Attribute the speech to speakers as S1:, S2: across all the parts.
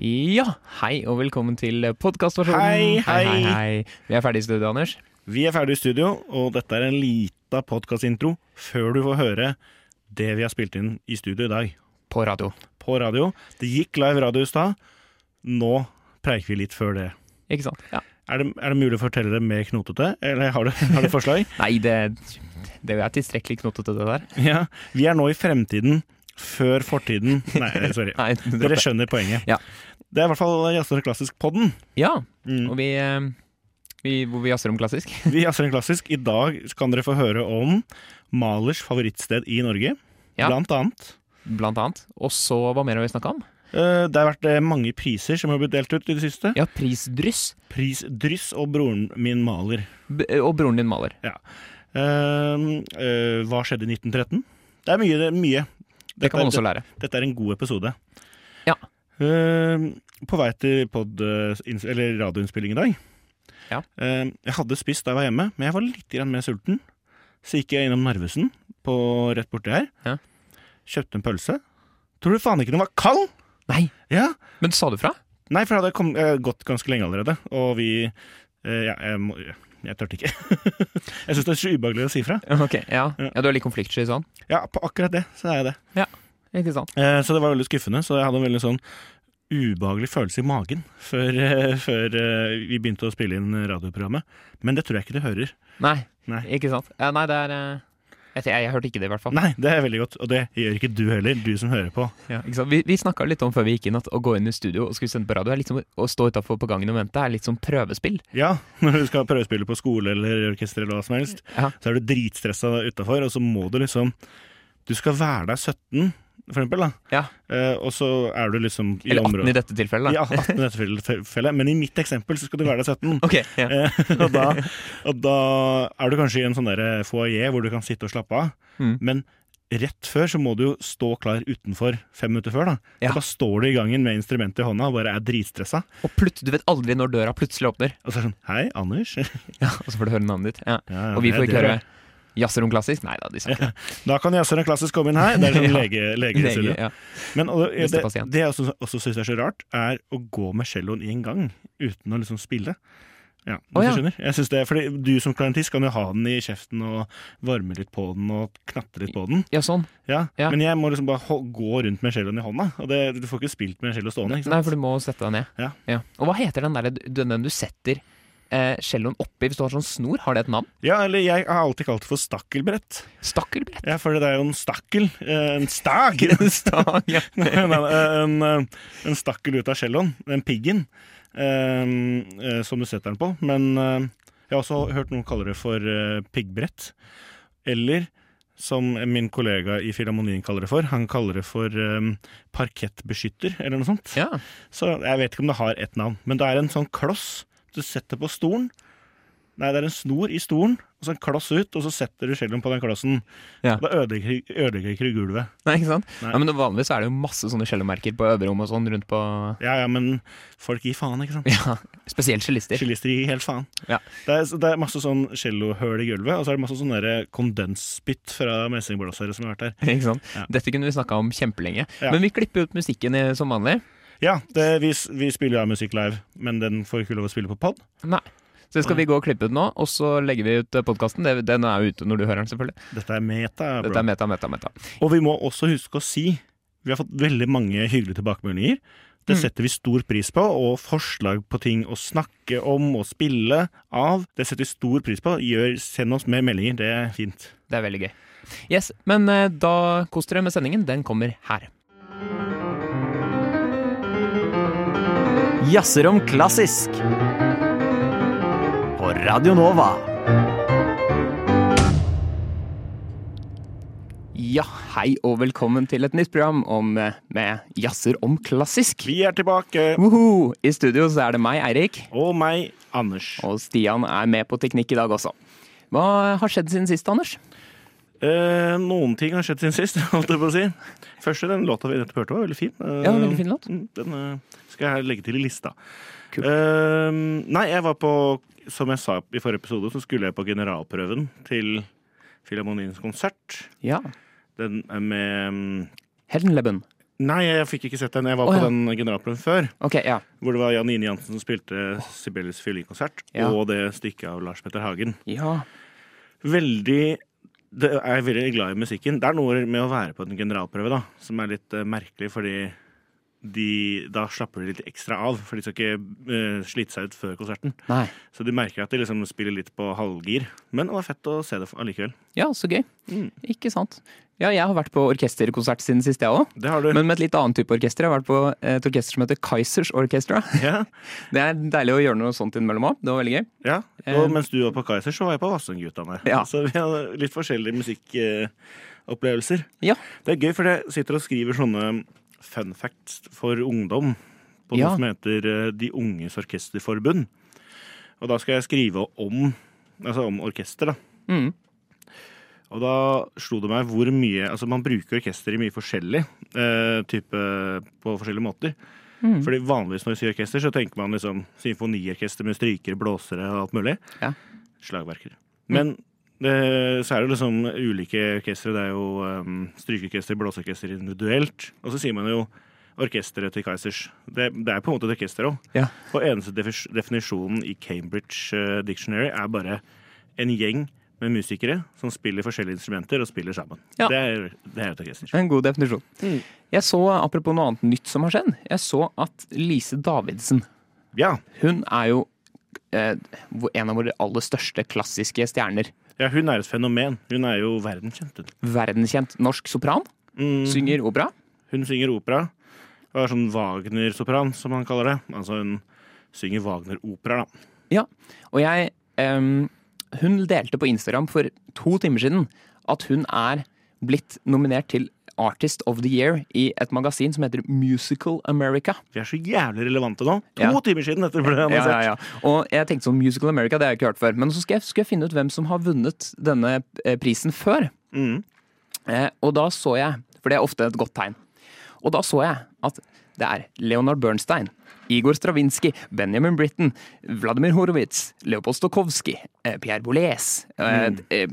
S1: Ja, hei og velkommen til podkastversjonen.
S2: Hei, hei.
S1: hei, hei. Vi er ferdig i studio, Anders.
S2: Vi er ferdig i studio, og dette er en lita podkastintro før du får høre det vi har spilt inn i studio i dag.
S1: På radio.
S2: På radio. Det gikk live radio i stad. Nå preiker vi litt før det.
S1: Ikke sant? Ja.
S2: Er det, er det mulig å fortelle det mer knotete, eller har du, har du forslag?
S1: Nei, det, det er tilstrekkelig knotete, det der.
S2: ja. Vi er nå i fremtiden, før fortiden Nei, eh, sorry.
S1: Nei, det-
S2: Dere skjønner poenget.
S1: Ja.
S2: Det er i hvert fall Jazzer og klassisk-podden.
S1: Ja,
S2: Mm.
S1: og vi, eh, vi, hvor vi jazzer om klassisk.
S2: Vi jazzer en klassisk. I dag kan dere få høre om Malers favorittsted i Norge,
S1: Ja.
S2: blant annet.
S1: Blant annet. Og så, hva mer har vi snakka om?
S2: Eh, Det har vært eh, mange priser som har blitt delt ut i det siste.
S1: Ja, prisdryss.
S2: Pris Dryss og broren min maler.
S1: B og broren din maler.
S2: Ehm, eh, hva skjedde i 1913? Det er mye. Det er mye.
S1: Det kan man
S2: Dette
S1: også
S2: er-
S1: lære.
S2: Dette er en god episode.
S1: Ja.
S2: Ehm, på vei til pod, eh, inns- eller radioinnspilling i dag.
S1: Ja.
S2: Ehm, jeg hadde spist da jeg var hjemme, men jeg var litt grann mer sulten. Så gikk jeg innom Narvesen, på, rett borti her.
S1: Ja.
S2: Kjøpte en pølse. Tror du faen ikke den var kald?
S1: Nei,
S2: Ja.
S1: men sa du fra?
S2: Nei, for jeg hadde kom, eh, gått ganske lenge allerede, og vi eh, ja, jeg, må, jeg tørte ikke. jeg syns det er så ubehagelig å si fra.
S1: Ok, ja. ja du er litt konfliktsky sånn?
S2: Ja, på akkurat det, så er jeg det.
S1: Ikke sant?
S2: Eh, så det var veldig skuffende, så jeg hadde en veldig sånn ubehagelig følelse i magen før, eh, før eh, vi begynte å spille inn radioprogrammet. Men det tror jeg ikke du hører.
S1: Nei,
S2: Nei.
S1: ikke sant. Ja, nei, det er eh, jeg, jeg, jeg hørte ikke det, i hvert fall.
S2: Nei, det er veldig godt, og det gjør ikke du heller, du som hører på.
S1: Ja, ikke sant? Vi, vi snakka litt om før vi gikk inn at å gå inn i studio og skulle sende på radio er litt som å stå utafor på gangen og vente. er litt som prøvespill.
S2: Ja, når du skal prøvespille på skole eller orkester eller hva som helst,
S1: Ja.
S2: så er du dritstressa utafor, og så må du liksom Du skal være der 17, for eksempel, da.
S1: Ja.
S2: Eh, og så er du liksom i
S1: Eller 18
S2: området
S1: i dette tilfellet.
S2: Ja,
S1: Da.
S2: 18 i dette tilfellet, men i mitt eksempel så skal du være der 17.
S1: Ok, ja.
S2: Eh, og, da, og da er du kanskje i en sånn der foajé hvor du kan sitte og slappe av,
S1: Mm.
S2: men rett før så må du jo stå klar utenfor fem minutter før. da
S1: Ja.
S2: Så da står du i gangen med instrumentet i hånda og bare er dritstressa.
S1: Og plut, du vet aldri når døra plutselig åpner.
S2: Og så er det sånn Hei, Anders.
S1: Ja, og så får du høre navnet ditt. Ja.
S2: Ja, ja,
S1: Og vi
S2: det
S1: får
S2: er
S1: ikke
S2: dere.
S1: høre jazzer om klassisk. Nei da, de sa ikke det.
S2: Da kan Jazzeren og Klassisk komme inn her. Det er sånn lege, legestudio.
S1: Lege, ja.
S2: Men og, det,
S1: Neste
S2: det,
S1: pasient.
S2: det jeg også, også syns er så rart, er å gå med celloen i en gang uten å liksom spille. Ja, hvis
S1: Å, ja.
S2: du skjønner. Jeg synes det, fordi du som klarinetist kan jo ha den i kjeften og varme litt på den og knatre litt på den.
S1: ja, sånn.
S2: Ja.
S1: Ja.
S2: Men jeg må liksom bare hol- gå rundt med celloen i hånda. Og det, du får ikke spilt med en cello stående. Ikke
S1: Nei,
S2: sant?
S1: for du må sette deg ned.
S2: Ja.
S1: Og hva heter den der, den, den du setter eh, celloen oppi hvis du har sånn snor? Har det et navn?
S2: Ja, eller jeg har alltid kalt det for stakkelbrett.
S1: Stakkelbrett.
S2: Ja, for det er jo en stakkel. eh, En stag!
S1: Stang, ja.
S2: Nei, nei, en, eh, en stakkel ut av celloen, den piggen, ehm, eh, som du setter den på. Men eh, jeg har også hørt noen kalle det for eh, piggbrett. Eller som min kollega i Filharmonien kaller det for, han kaller det for ehm, parkettbeskytter, eller noe sånt.
S1: ja.
S2: Så jeg vet ikke om det har ett navn, men det er en sånn kloss du setter på stolen. Nei, det er en snor i stolen, og så en kloss ut, og så setter du celloen på den klossen.
S1: Ja.
S2: Da ødelegger ødelegger ikke du gulvet.
S1: Nei, ikke sant?
S2: Nei.
S1: Ja, men vanligvis så er det jo masse sånne cellomerker på øverrommet og sånn rundt på
S2: Ja, ja, men folk gir faen, ikke sant?
S1: Ja, spesielt cellister.
S2: Cellister gir helt faen.
S1: Ja.
S2: Det, er, det er masse sånn cellohull i gulvet, og så er det masse sånn der kondensspytt fra messingblåsere som har vært der.
S1: Ikke sant?
S2: Ja.
S1: Dette kunne vi snakka om kjempelenge.
S2: Ja.
S1: Men vi klipper ut musikken i, som vanlig.
S2: Ja, det, vi, s- vi spiller jo av musikk live, men den får ikke lov å spille på pod.
S1: Nei. Så
S2: Mm.
S1: skal vi gå og klippe ut nå, og så legger vi ut podkasten. Den er jo ute når du hører den, selvfølgelig.
S2: Dette er meta, bro.
S1: Dette er meta, meta, meta.
S2: Og vi må også huske å si Vi har fått veldig mange hyggelige tilbakemeldinger. Det
S1: Mm.
S2: setter vi stor pris på, og forslag på ting å snakke om og spille av, det setter vi stor pris på. Gjør, send oss mer meldinger, det er fint.
S1: Det er veldig gøy. Yes, Men eh, da kos dere med sendingen. Den kommer her.
S3: Jazzer om klassisk. På Radio Nova.
S1: Ja, hei og velkommen til et nytt program om, eh, med jazzer om klassisk.
S2: Vi er tilbake!
S1: Woho! I studio så er det meg, Eirik.
S2: Og meg, Anders.
S1: Og Stian er med på teknikk i dag også. Hva har skjedd siden sist, Anders?
S2: Eh, noen ting har skjedd siden sist, holdt jeg på å si. Første, den låta vi nettopp hørte, var veldig fin. Eh,
S1: Ja, veldig fin låt.
S2: mm, Den eh, skal jeg legge til i lista.
S1: Kult.
S2: Eh, nei, jeg var på Som jeg sa i forrige episode, så skulle jeg på generalprøven til Filharmoniens konsert.
S1: Ja.
S2: Den eh, med mm,
S1: Heldenleben.
S2: Nei, jeg fikk ikke sett den. Jeg var
S1: Å,
S2: på
S1: ja.
S2: den generalprøven før,
S1: Ok, ja.
S2: hvor det var Janine Jansen som spilte Sibelles fiolinkonsert,
S1: Ja.
S2: og det stykket av Lars Petter Hagen.
S1: Ja.
S2: Veldig det er jeg veldig glad i musikken. Det er noe med å være på en generalprøve da, som er litt eh, merkelig, fordi de, da slapper de litt ekstra av. For de skal ikke eh, slite seg ut før konserten.
S1: Nei.
S2: Så du merker at de liksom spiller litt på halvgir. Men det var fett å se det for- allikevel.
S1: Ja, så gøy.
S2: Mm.
S1: Ikke sant. Ja, jeg har vært på orkesterkonsert siden sist, jeg òg.
S2: Det har du.
S1: Men med et litt annet type orkester. Jeg har vært på eh, et orkester som heter Kaizers Orchestra.
S2: ja,
S1: Det er deilig å gjøre noe sånt innimellom òg. Det var veldig gøy.
S2: ja.
S1: Eh.
S2: Og mens du var på Kaiser, så var jeg på Vassendgutane.
S1: Ja.
S2: Så vi hadde litt forskjellige musikkopplevelser.
S1: Ja.
S2: Det er gøy, for jeg sitter og skriver sånne fun facts for ungdom på
S1: Ja.
S2: noe som heter eh, De unges orkesterforbund. Og da skal jeg skrive om, altså om orkester, da.
S1: Mm.
S2: Og da slo det meg hvor mye Altså, man bruker orkester i mye forskjellig eh, type På forskjellige måter.
S1: Mm.
S2: Fordi vanligvis når vi sier orkester, så tenker man liksom symfoniorkester med strykere, blåsere og alt mulig.
S1: Ja.
S2: Slagverkere. Men eh, så er det liksom ulike orkestre. Det er jo eh, strykeorkester, blåseorkester individuelt. Og så sier man jo orkesteret til Kaizers. Det, det er på en måte et orkester òg.
S1: Ja.
S2: Og eneste defis- definisjonen i Cambridge eh, Dictionary er bare en gjeng med musikere som spiller forskjellige instrumenter og spiller sammen.
S1: Ja.
S2: Det, er, det er et orkester.
S1: En god definisjon. Jeg så, apropos noe annet nytt som har skjedd, jeg så at Lise Davidsen,
S2: Ja.
S1: hun er jo eh, en av våre aller største klassiske stjerner.
S2: ja, hun er et fenomen. Hun er jo verdenskjent. hun.
S1: Verdenskjent norsk sopran. Synger opera.
S2: Hun synger opera. Og er sånn Wagner-sopran, som han kaller det. Altså hun synger Wagner-opera, da.
S1: Ja, og jeg ehm, Hun delte på Instagram for to timer siden at hun er blitt nominert til Artist of the Year i et magasin som heter Musical America.
S2: Vi er så jævlig relevante nå. To
S1: Ja.
S2: timer siden dette ble
S1: Ja,
S2: annonsert.
S1: ja, ja. Og jeg tenkte sånn Musical America, det har jeg ikke hørt før. Men så skal jeg, skal jeg finne ut hvem som har vunnet denne eh, prisen før.
S2: Mhm.
S1: Eh, og da så jeg, for det er ofte et godt tegn, og da så jeg at det er Leonard Bernstein, Igor Stravinsky, Benjamin Britten, Vladimir Horowitz, Leopold Stokowski, eh, Pierre Boulez, eh, eh,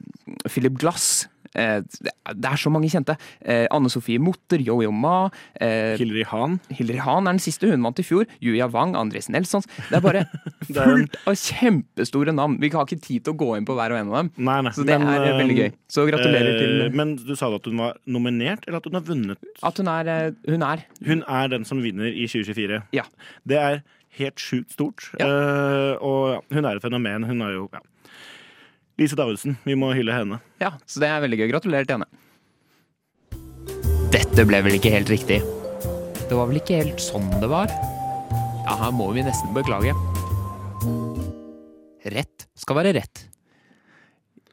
S1: Philip Glass eh, det er- Det er så mange kjente. Eh, Anne Sofie Motter, Yo-Yo Ma. Eh,
S2: Hillary Hahn.
S1: Hilary Hahn er den siste hun vant i fjor. Julia Wang, Andres Nelson Det er bare
S2: er en-
S1: fullt av kjempestore navn. Vi har ikke tid til å gå inn på hver og en av dem.
S2: Nei, nei.
S1: Så det
S2: men, um,
S1: er eh, veldig gøy. Så gratulerer
S2: eh,
S1: til
S2: Men du sa da at hun var nominert, eller at hun har vunnet?
S1: at hun er eh, Hun er
S2: Hun er den som vinner i 2024.
S1: Ja.
S2: Det er helt sjukt stort. Eh, og ja, hun er et fenomen. Hun er jo ja. Lise Davidsen. Vi må hylle henne.
S1: ja så det er veldig gøy. Gratulerer til henne. Dette ble vel ikke helt riktig. Det var vel ikke helt sånn det var? Ja, her må vi nesten beklage. Rett skal være rett.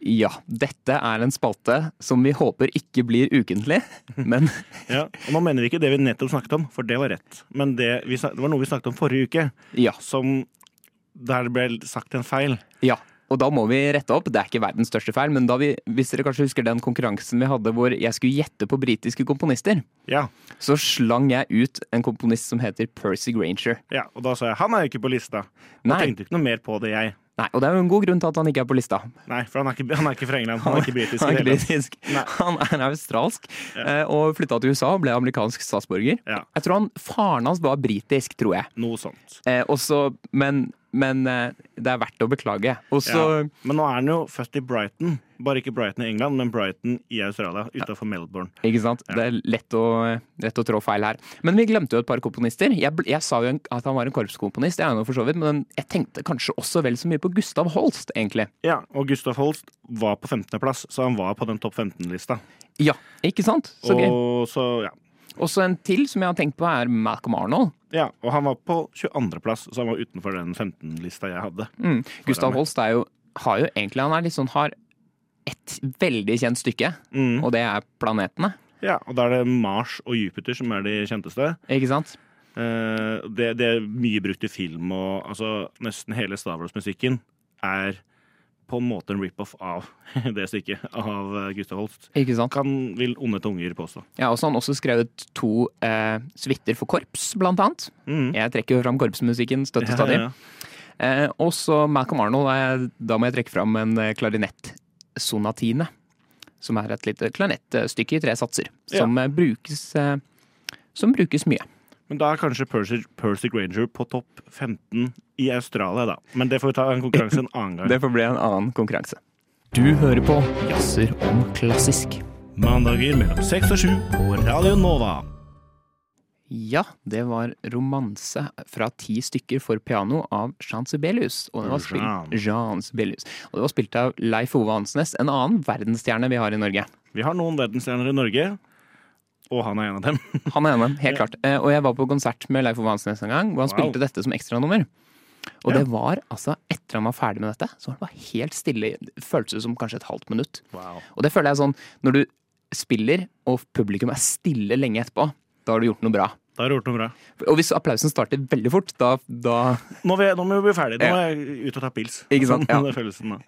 S1: Ja, dette er en spalte som vi håper ikke blir ukentlig, men
S2: Ja, og Nå mener vi ikke det vi nettopp snakket om, for det var rett. Men det, vi, snak- det var noe vi snakket om forrige uke,
S1: ja.
S2: som der det ble sagt en feil.
S1: Ja, og da må vi rette opp. Det er ikke verdens største feil, men da vi, hvis dere kanskje husker den konkurransen vi hadde hvor jeg skulle gjette på britiske komponister,
S2: Ja,
S1: så slang jeg ut en komponist som heter Percy Granger.
S2: ja, Og da sa jeg 'han er jo ikke på lista'. Jeg
S1: Nei,
S2: tenkte ikke noe mer på det, jeg.
S1: nei, og det er jo en god grunn til at han ikke er på lista.
S2: Nei, For han er ikke, han er ikke fra England. Han er ikke britisk. i
S1: Han er,
S2: det hele tatt.
S1: ikke britisk.
S2: Nei.
S1: han er australsk eh, og flytta til USA og ble amerikansk statsborger.
S2: Ja,
S1: Jeg tror han, Faren hans var britisk, tror jeg.
S2: Noe sånt.
S1: Eh, også, men men eh, det er verdt å beklage. Og så
S2: Ja. Men nå er han jo født i Brighton. Bare ikke Brighton i England, men Brighton i Australia, utafor Melbourne.
S1: Ikke sant? Det er lett å, lett å trå feil her. Men vi glemte jo et par komponister. Jeg, bl- jeg sa jo en- at han var en korpskomponist, det er han jo for så vidt, men jeg tenkte kanskje også vel så mye på Gustav Holst, egentlig.
S2: Ja, Og Gustav Holst var på 15.-plass, så han var på den topp 15-lista.
S1: Ja, ikke sant? Så gøy.
S2: Og så, ja.
S1: Også en til som jeg har tenkt på, er Malcolm Arnold.
S2: ja. Og han var på 22.-plass, så han var utenfor den 15-lista jeg hadde.
S1: Mm. Gustav
S2: meg.
S1: Holst er jo, har jo egentlig Han er litt sånn har et veldig kjent stykke,
S2: Mm.
S1: og det er 'Planetene'.
S2: Ja, Og da er det Mars og Jupiter som er de kjenteste.
S1: Ikke sant?
S2: Eh, det, det er mye brukt i film, og altså, nesten hele Star Wars-musikken er på en måte en rip-off av det stykket av eh, Gustav Holst.
S1: Ikke sant?
S2: Kan vil onde tunger påstå.
S1: Ja, og så har han også skrevet to eh, suiter for korps, blant annet.
S2: Mm.
S1: Jeg trekker jo fram korpsmusikken
S2: Ja,
S1: støttestadig.
S2: ja, ja.
S1: Eh, og så Malcolm Arnold, eh, da må jeg trekke fram en eh, klarinettsonatine. Som er et lite klarinettstykke i tre satser. Som eh, brukes eh, som brukes mye.
S2: Men da er kanskje Percy, Percy Granger på topp 15 i Australia, da. Men det får vi ta en konkurranse en annen gang.
S1: Det får bli en annen konkurranse. Du hører på Jazzer om klassisk.
S2: Mandager mellom 6 og 7 på Radio Nova.
S1: Ja, det var 'Romanse fra ti stykker for piano' av Jean Sibelius. Og det var
S2: Jean.
S1: spilt, Jean Sibelius. Og det var spilt av Leif Ove Hansnes, en annen verdensstjerne vi har i Norge.
S2: Vi har noen verdensstjerner i Norge, og han er en av dem.
S1: Han er NM, helt klart. Eh, Og jeg var på konsert med Leif Ove Hansnes en gang, hvor han
S2: Wow.
S1: spilte dette som ekstranummer. Og
S2: Ja.
S1: det var altså, etter han var ferdig med dette, så var det bare helt stille. i- Det føltes som kanskje et halvt minutt. Og det føler jeg sånn, når du spiller, og publikum er stille lenge etterpå, da har du gjort noe bra.
S2: Da har du gjort noe bra.
S1: Og hvis applausen starter veldig fort, da, da
S2: Nå, vil jeg, nå må vi bli ferdig. Nå må jeg ut og ta pils.
S1: Ikke sant, ja.
S2: Sånn er følelsen, da.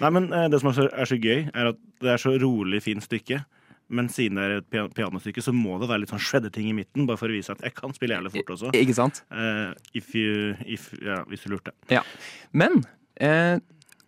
S2: Nei, men eh, Det som er så, er så gøy, er at det er så rolig, fint stykke. Men siden det er et pia- pianostykke, så må det være litt sånn shredder-ting i midten. Bare for å vise at jeg kan spille jævlig fort også.
S1: Ikke sant?
S2: Eh, if you, if, ja, hvis du lurte.
S1: Ja. Men eh,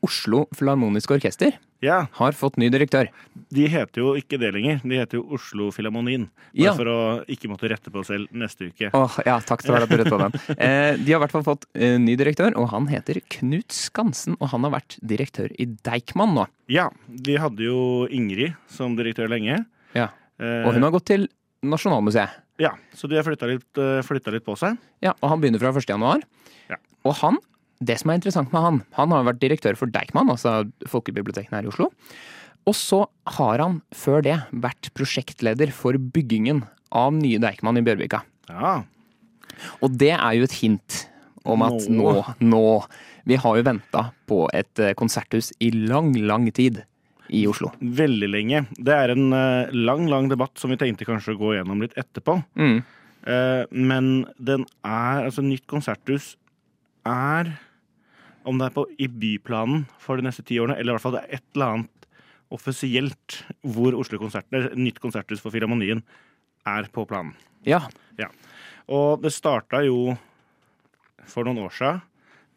S1: Oslo Filharmoniske Orkester
S2: Ja,
S1: har fått ny direktør.
S2: De heter jo ikke det lenger. De heter jo Oslo Filharmonien. Bare
S1: Ja.
S2: for å ikke måtte rette på selv neste uke.
S1: Åh, ja, takk skal du ha at du rettet den. Eh, de har i hvert fall fått eh, ny direktør, og han heter Knut Skansen. Og han har vært direktør i Deichman nå.
S2: Ja, de hadde jo Ingrid som direktør lenge.
S1: Ja.
S2: Eh,
S1: Og hun har gått til Nasjonalmuseet.
S2: ja, så de har flytta litt, eh, flyttet litt på seg.
S1: Ja, og han begynner fra 1. januar.
S2: Ja.
S1: Og han, det som er interessant med han, han har vært direktør for Deichman, altså folkebiblioteken her i Oslo. Og så har han før det vært prosjektleder for byggingen av nye Deichman i Bjørvika.
S2: Ja,
S1: Og det er jo et hint om at nå,
S2: Nå.
S1: nå Vi har jo venta på et eh, konserthus i lang, lang tid i Oslo.
S2: Veldig lenge. Det er en eh, lang, lang debatt som vi tenkte kanskje å gå gjennom litt etterpå.
S1: Mm.
S2: Eh, men den er Altså, nytt konserthus er Om det er på, i byplanen for de neste ti årene, eller i hvert fall det er et eller annet offisielt hvor Oslo konsert, eller nytt konserthus for Filharmonien er på planen.
S1: Ja.
S2: Og det starta jo for noen år siden.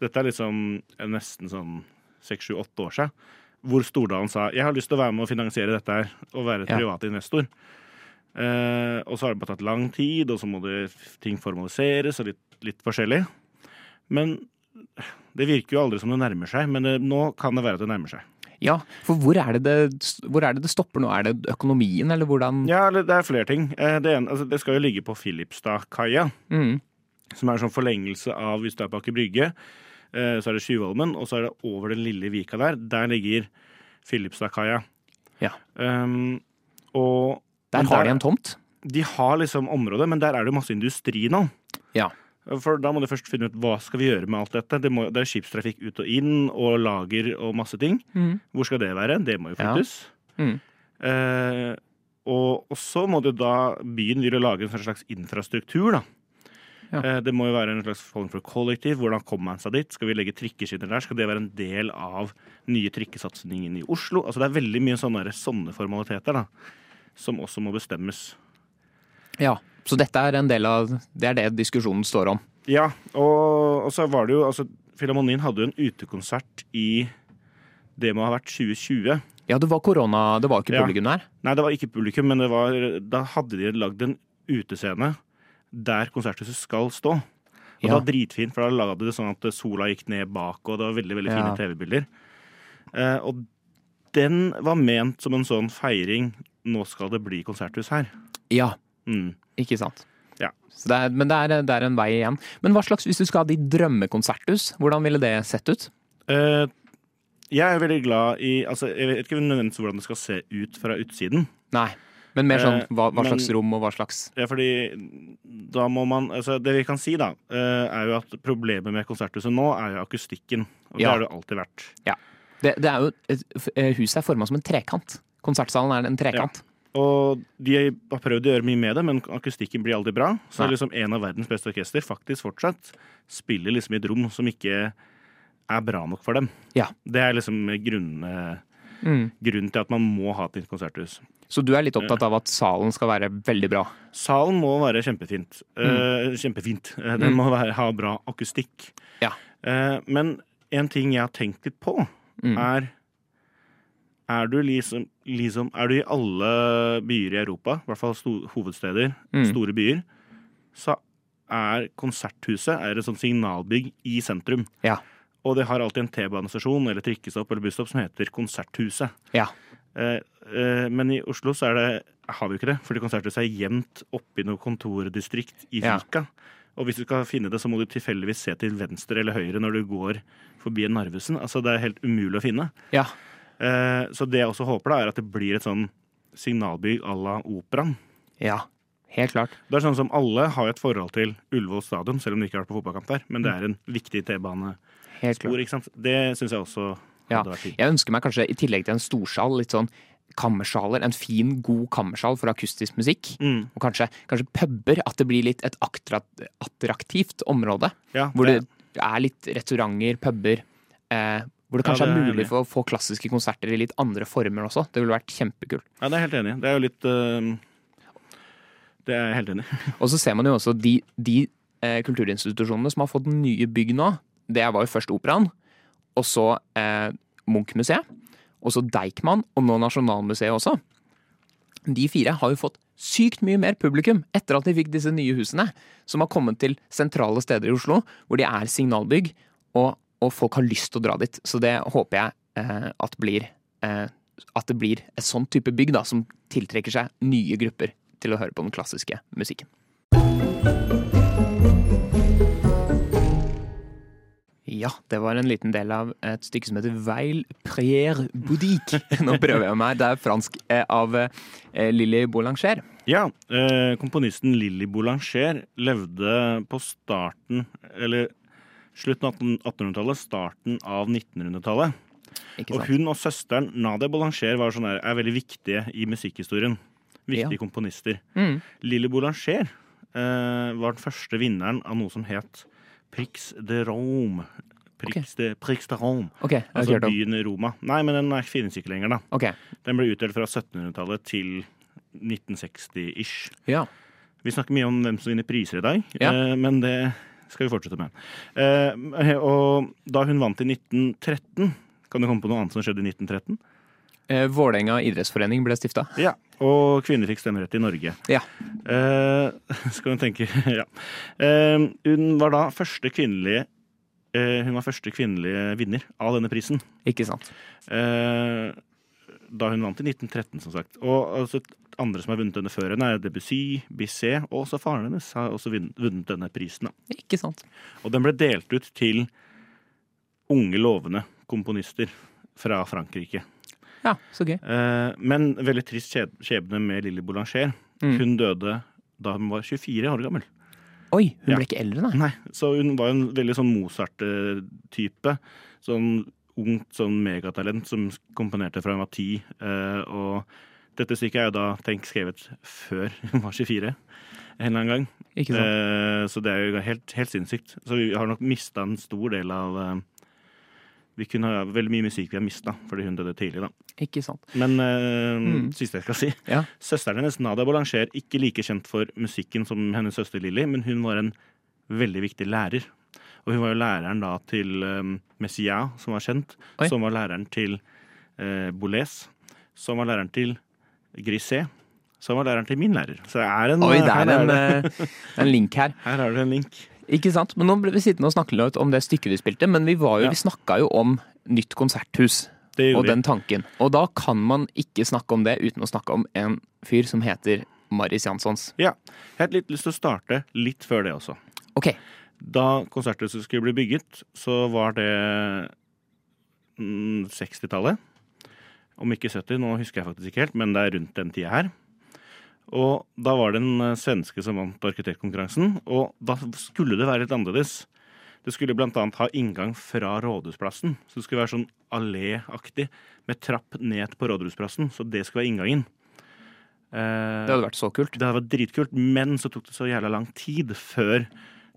S2: Dette er liksom nesten sånn seks, sju, åtte år siden. Hvor Stordalen sa jeg har lyst til å være med og finansiere dette her og være
S1: Ja.
S2: privat investor. Eh, og så har det bare tatt lang tid, og så må det ting formaliseres og litt, litt forskjellig. Men det virker jo aldri som det nærmer seg, men det, nå kan det være at det nærmer seg.
S1: ja. For hvor er, det det, hvor er det det stopper nå? Er det økonomien, eller hvordan
S2: Ja, eller det er flere ting. Eh, det, ene, altså, det skal jo ligge på Filipstadkaia.
S1: Mm.
S2: som er en sånn forlengelse av hvis du er på Aker Brygge, eh, så er det Tjuvholmen, og så er det over den lille vika der. Der ligger Filipstadkaia.
S1: Ja.
S2: Um, og
S1: Der
S2: men
S1: har de en tomt.
S2: De har liksom området, men der er det jo masse industri nå.
S1: Ja.
S2: For da må du først finne ut hva skal vi gjøre med alt dette. Det, må, det er skipstrafikk ut og inn, og lager og masse ting.
S1: Mm.
S2: Hvor skal det være? Det må jo
S1: Ja.
S2: flyttes.
S1: Mm.
S2: Eh, og, og så må det jo da byen vil jo lage en slags infrastruktur, da.
S1: Ja.
S2: Eh, det må jo være en slags form for kollektiv. Hvordan kommer man seg dit? Skal vi legge trikkeskinner der? Skal det være en del av nye trikkesatsingen i Oslo? Altså det er veldig mye sånne, der- sånne formaliteter da, som også må bestemmes.
S1: ja. Så dette er en del av Det er det diskusjonen står om.
S2: Ja, og, og så var det jo altså, Filharmonien hadde jo en utekonsert i det må ha vært 2020.
S1: Ja, det var korona, det var ikke
S2: Ja.
S1: publikum der.
S2: Nei, det var ikke publikum, men det var, da hadde de lagd en utescene der konserthuset skal stå. Og det
S1: Ja.
S2: var dritfint, for da la de det sånn at sola gikk ned bak, og det var veldig veldig
S1: Ja.
S2: fine TV-bilder. Eh, og den var ment som en sånn feiring. Nå skal det bli konserthus her.
S1: Ja,
S2: Mm.
S1: ikke sant.
S2: Ja.
S1: Så det er, men det er, det er en vei igjen. Men hva slags, hvis du skal ha ditt drømmekonserthus, hvordan ville det sett ut?
S2: Eh, jeg er veldig glad i altså, Jeg vet ikke nødvendigvis hvordan det skal se ut fra utsiden.
S1: Nei. Men mer sånn
S2: Eh,
S1: hva, hva
S2: men-
S1: slags rom og hva slags
S2: Ja, fordi da må man altså Det vi kan si, da, eh, er jo at problemet med konserthuset nå er jo akustikken. Og det
S1: Ja.
S2: har det jo alltid vært.
S1: Det, det er jo et, f- eh, Huset er forma som en trekant. Konsertsalen er en trekant.
S2: Og de har prøvd å gjøre mye med det, men akustikken blir aldri bra. Så
S1: Nei.
S2: liksom en av verdens beste orkester faktisk fortsatt spiller liksom i et rom som ikke er bra nok for dem.
S1: Ja.
S2: Det er liksom grunnen,
S1: Mm.
S2: grunnen til at man må ha et nytt konserthus.
S1: Så du er litt opptatt av at salen skal være veldig bra.
S2: Salen må være kjempefint.
S1: Mm.
S2: Eh, kjempefint. Eh, Den må være, ha bra akustikk.
S1: Ja.
S2: Eh, men en ting jeg har tenkt litt på,
S1: Mm.
S2: er er du,
S1: Mm.
S2: liksom, liksom, er du i alle byer i Europa, i hvert fall sto, hovedsteder, store byer, så er konserthuset er et sånt signalbygg i sentrum.
S1: Ja.
S2: Og det har alltid en T-banestasjon eller trikkestopp eller busstopp som heter Konserthuset.
S1: Ja.
S2: Eh, eh, men i Oslo så er det, har vi jo ikke det, fordi konserthuset er gjemt oppi noe kontordistrikt i
S1: Ja.
S2: Vika. Og hvis du skal finne det, så må du tilfeldigvis se til venstre eller høyre når du går forbi Narvesen. Altså det er helt umulig å finne.
S1: Ja.
S2: Eh, så det jeg også håper, da, er at det blir et sånn signalbygg à la Operaen.
S1: ja. Helt klart.
S2: Det er sånn som alle har et forhold til Ullevål stadion, selv om de ikke har vært på fotballkamp der. Men det er en viktig T-banespor,
S1: Helt Mm. klart.
S2: ikke sant. Det syns jeg også
S1: Ja.
S2: hadde vært fint.
S1: Jeg ønsker meg kanskje, i tillegg til en storsal, litt sånn kammersaler. En fin, god kammersal for akustisk musikk.
S2: Mm,
S1: Og kanskje, kanskje puber. At det blir litt et attra- attraktivt område.
S2: ja,
S1: Hvor det er litt restauranter, puber. Eh, hvor det
S2: Ja,
S1: kanskje
S2: det er
S1: er
S2: jeg enig i.
S1: mulig for å få klassiske konserter i litt andre former også. Det ville vært kjempekult.
S2: Ja, det er jeg helt enig. i. Det er jo litt eh, Det er jeg helt enig. i.
S1: Og så ser man jo også de, de eh, kulturinstitusjonene som har fått nye bygg nå. Det var jo først Operaen, og så eh, Munch-museet, og så Deichman, og nå Nasjonalmuseet også. De fire har jo fått sykt mye mer publikum etter at de fikk disse nye husene, som har kommet til sentrale steder i Oslo, hvor de er signalbygg, og, og folk har lyst til å dra dit. Så det håper jeg eh, at blir eh, at det blir et sånn type bygg da, som tiltrekker seg nye grupper til å høre på den klassiske musikken. Ja, det var en liten del av et stykke som heter Veil Prière Boudique. Nå prøver jeg meg. Det er fransk eh, av eh, Lilly Boulanger.
S2: Ja, eh, komponisten Lilly Boulanger levde på starten Eller slutten av 18- 1800-tallet, starten av 1900-tallet.
S1: Ikke
S2: Og
S1: sant?
S2: hun og søsteren Nadia Boulanger var sånn her, er veldig viktige i musikkhistorien. Viktige komponister.
S1: Mm.
S2: Lilly Boulanger eh, var den første vinneren av noe som het Prix de Rome. Prix, de, Prix de Rome.
S1: Ok, jeg har
S2: Altså
S1: hørt om.
S2: byen Roma. Nei, men den er- finnes ikke lenger, da.
S1: Ok,
S2: Den ble utdelt fra 1700-tallet til 1960-ish.
S1: ja.
S2: Vi snakker mye om hvem som vinner priser i dag,
S1: Ja.
S2: eh, men det skal vi fortsette med. Eh, og da hun vant i 1913 Kan du komme på noe annet som skjedde i 1913?
S1: Eh, Vålerenga idrettsforening ble stifta.
S2: Ja. Og kvinner fikk stemmerett i Norge.
S1: Ja.
S2: Eh, skal hun tenke Ja. Eh, hun var da første kvinnelige eh, Hun var første kvinnelige vinner av denne prisen.
S1: Ikke sant.
S2: Eh, da hun vant i 1913, som sagt. Og altså, andre som har vunnet denne før henne, er Debussy, Bisset, og også faren hennes har også vunnet- vunnet denne prisen. Da.
S1: Ikke sant.
S2: Og den ble delt ut til unge, lovende komponister fra Frankrike.
S1: Ja, så gøy.
S2: Eh, men veldig trist skjeb- skjebne med Lilly Boulanger.
S1: Mm.
S2: Hun døde da hun var 24 år gammel.
S1: Oi, hun
S2: Ja.
S1: ble ikke eldre, nei.
S2: Nei, Så hun var en veldig sånn Mozart-type. Sånn ungt sånn megatalent som komponerte fra hun var ti. eh, og dette stykket er jo da tenk skrevet før hun var 24 en eller annen gang.
S1: Ikke sant.
S2: Eh, så det er jo helt, helt sinnssykt. Så vi har nok mista en stor del av eh, Vi kunne ha veldig mye musikk vi har mista fordi hun døde tidlig, da.
S1: Ikke sant.
S2: Men eh,
S1: Mm.
S2: siste jeg skal si
S1: Ja.
S2: Søsteren hennes, Nadia Boulanger, ikke like kjent for musikken som hennes søster Lilly, men hun var en veldig viktig lærer. Og hun var jo læreren da til um, Messiaen, som var kjent,
S1: Oi.
S2: som var læreren til eh, Boulez, som var læreren til Griset, som var læreren til min lærer. Så det er en,
S1: Oi, det
S2: her,
S1: er en,
S2: det,
S1: eh, en link her.
S2: her har du en link.
S1: Ikke sant? Men nå ble vi sittende og snakke litt om det stykket vi spilte, men vi, var jo,
S2: Ja.
S1: vi snakka jo om nytt konserthus
S2: Det
S1: og
S2: gjorde
S1: den tanken. Og da kan man ikke snakke om det uten å snakke om en fyr som heter Marius Janssons.
S2: vi. Ja. Jeg hadde litt lyst til å starte litt før det også.
S1: Ok,
S2: Da konserthuset skulle bli bygget, så var det mm, 60-tallet. Om ikke 70, nå husker jeg faktisk ikke helt, men det er rundt den tida her. Og da var det en eh, svenske som vant arkitektkonkurransen, og da skulle det være litt annerledes. Det skulle blant annet ha inngang fra Rådhusplassen, så det skulle være sånn alléaktig, med trapp ned på Rådhusplassen, så det skulle være inngangen. Eh,
S1: det hadde vært så kult.
S2: det hadde vært dritkult, men så tok det så jævla lang tid før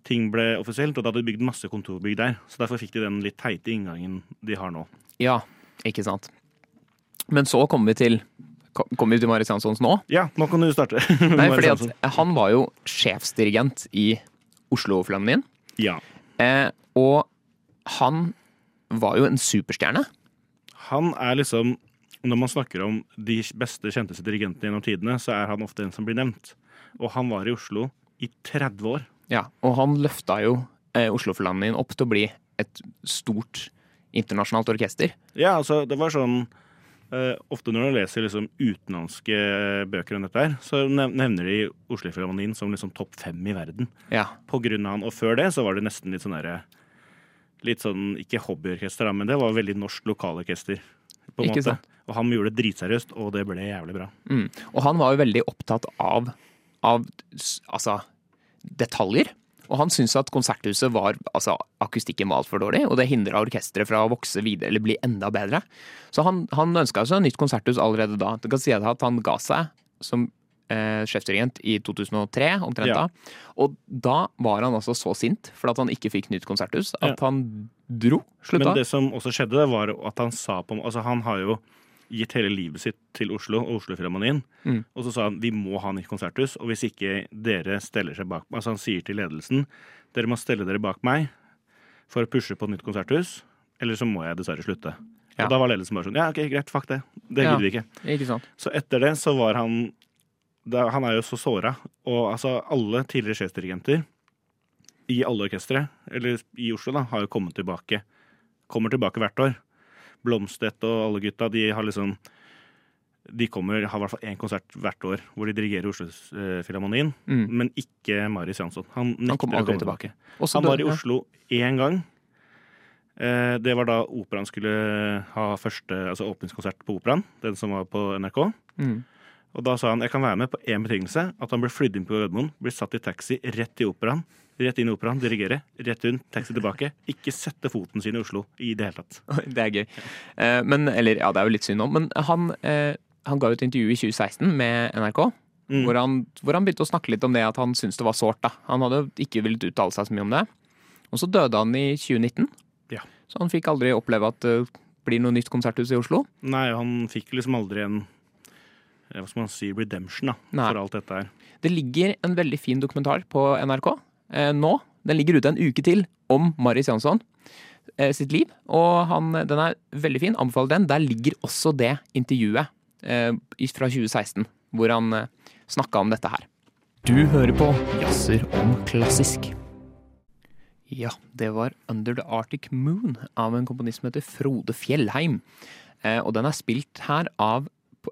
S2: ting ble offisielt, og da hadde de bygd masse kontorbygg der. Så derfor fikk de den litt teite inngangen de har nå.
S1: Ja, ikke sant. Men så kommer vi til Kommer vi til Marius Janssons nå?
S2: Ja, nå kan du starte.
S1: Nei,
S2: Bare
S1: fordi
S2: sånn som-
S1: at han var jo sjefsdirigent i Oslo-Filharmonien.
S2: Ja.
S1: Eh, og han var jo en superstjerne.
S2: Han er liksom Når man snakker om de beste kjenteste dirigentene gjennom tidene, så er han ofte en som blir nevnt. Og han var i Oslo i 30 år.
S1: Ja, og han løfta jo eh, Oslofilharmonien opp til å bli et stort internasjonalt orkester.
S2: Ja, altså, det var sånn eh, Ofte når du leser liksom, utenlandske bøker om dette her, så nev- nevner de Oslofilharmonien som liksom topp fem i verden.
S1: Ja,
S2: På grunn av han. Og før det så var det nesten litt sånn derre Litt sånn, ikke hobbyorkester, da, men det var veldig norsk lokalorkester. På en
S1: Ikke
S2: måte.
S1: sant?
S2: Og han gjorde det dritseriøst, og det ble jævlig bra.
S1: mm. Og han var jo veldig opptatt av, av s- altså, detaljer. Og han syntes at konserthuset var altså, akustikken var altfor dårlig, og det hindra orkesteret fra å vokse videre eller bli enda bedre. Så han, han ønska seg nytt konserthus allerede da. Du kan si at han ga seg som eh, sjefdirigent i 2003, omtrent
S2: Ja.
S1: da. Og da var han altså så sint for at han ikke fikk nytt konserthus, at han dro. Slutta.
S2: Men det som også skjedde, var at han sa på Altså, han har jo gitt hele livet sitt til Oslo og Oslofilharmonien.
S1: Mm.
S2: Og så sa han vi må ha nytt konserthus, og hvis ikke dere steller seg bak meg Altså, han sier til ledelsen dere må stelle dere bak meg for å pushe på nytt konserthus, eller så må jeg dessverre slutte.
S1: Ja.
S2: Og da var ledelsen bare sånn ja, ok, greit, fuck det. Det
S1: Ja.
S2: gidder vi ikke.
S1: Ikke sant?
S2: Så etter det så var han da, Han er jo så såra. Og altså, alle tidligere sjefdirigenter i alle orkestre, eller i Oslo, da, har jo kommet tilbake. Kommer tilbake hvert år. Blomstedt og alle gutta, de har liksom De kommer, har i hvert fall én konsert hvert år hvor de dirigerer Oslofilharmonien,
S1: Mm.
S2: men ikke Marius Jansson. Han nekter
S1: kom
S2: å
S1: aldri
S2: komme
S1: tilbake.
S2: tilbake.
S1: Og så
S2: Han var
S1: døde-
S2: i Oslo én gang. Eh, Det var da operaen skulle ha første altså åpningskonsert på operaen. Den som var på NRK.
S1: Mm.
S2: Og da sa han jeg kan være med på én betingelse. At han blir flydd inn på Gardermoen, blir satt i taxi rett i operaen. Rett inn i operaen, dirigere, rett inn, taxi tilbake. Ikke sette foten sin i Oslo i det hele tatt.
S1: Det er gøy. Eh, Men, eller ja, det er jo litt synd om, men han, eh, han ga jo et intervju i 2016 med NRK.
S2: Mm.
S1: Hvor, han, hvor han begynte å snakke litt om det at han syntes det var sårt. da. Han hadde jo ikke villet uttale seg så mye om det. Og så døde han i 2019,
S2: Ja.
S1: så han fikk aldri oppleve at det blir noe nytt konserthus i Oslo.
S2: Nei, han fikk liksom aldri en eh, hva skal man si, redemption da,
S1: Nei.
S2: for alt dette her.
S1: Det ligger en veldig fin dokumentar på NRK eh, nå. Den ligger ute en uke til om Marius Jansson eh, sitt liv. Og han, den er veldig fin. Anbefaler den. Der ligger også det intervjuet eh, i- fra 2016 hvor han eh, snakka om dette her. Du hører på Jazzer om klassisk. Ja, det var Under the Arctic Moon av en komponist som heter Frode Fjellheim. Eh, og den er spilt her av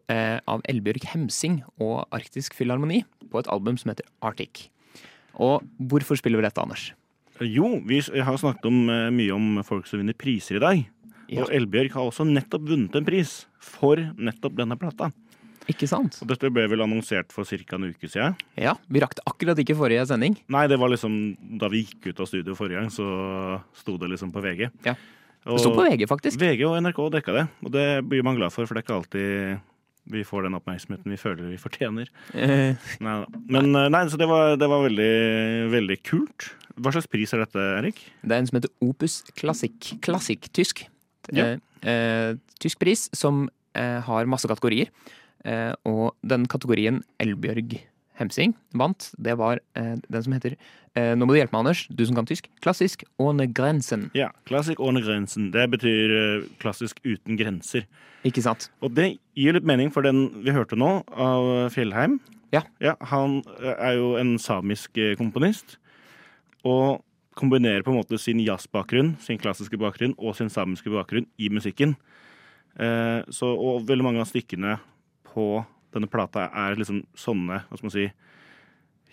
S1: eh, av Elbjørg Hemsing og Arktisk Filharmoni på et album som heter Arctic. Og hvorfor spiller vi dette, Anders?
S2: Jo, vi s- har snakket om, eh, mye om folk som vinner priser i dag.
S1: Ja.
S2: Og Elbjørg har også nettopp vunnet en pris for nettopp denne plata.
S1: Ikke sant?
S2: Og dette ble vel annonsert for ca. en uke siden.
S1: Ja, vi rakk det akkurat ikke forrige sending.
S2: Nei, det var liksom da vi gikk ut av studio forrige gang, så sto det liksom på VG.
S1: Ja.
S2: Og
S1: Det sto på VG, faktisk.
S2: VG og NRK dekka det, og det blir man glad for, for det er ikke alltid vi får den oppmerksomheten vi føler vi fortjener.
S1: Eh,
S2: Neida. Men eh, nei, så det var, det var veldig, veldig kult. Hva slags pris er dette, Erik?
S1: Det er en som heter Opus Classic. Classic tysk.
S2: Ja.
S1: Eh, eh, tysk pris som eh, har masse kategorier. Eh, og den kategorien Elbjørg Hemsing vant, det var eh, den som heter eh, Nå må du hjelpe meg, Anders, du som kan tysk. Klassisk Ohne Grenzen.
S2: Ja, Classic ohne grensen. Det betyr eh, klassisk uten grenser.
S1: Ikke sant?
S2: Og det gir litt mening for den vi hørte nå, av Fjellheim.
S1: Ja.
S2: Han eh, er jo en samisk eh, komponist, og kombinerer på en måte sin jazzbakgrunn, sin klassiske bakgrunn og sin samiske bakgrunn i musikken. Eh, så, og veldig mange av stykkene på denne plata er liksom sånne, hva skal man si,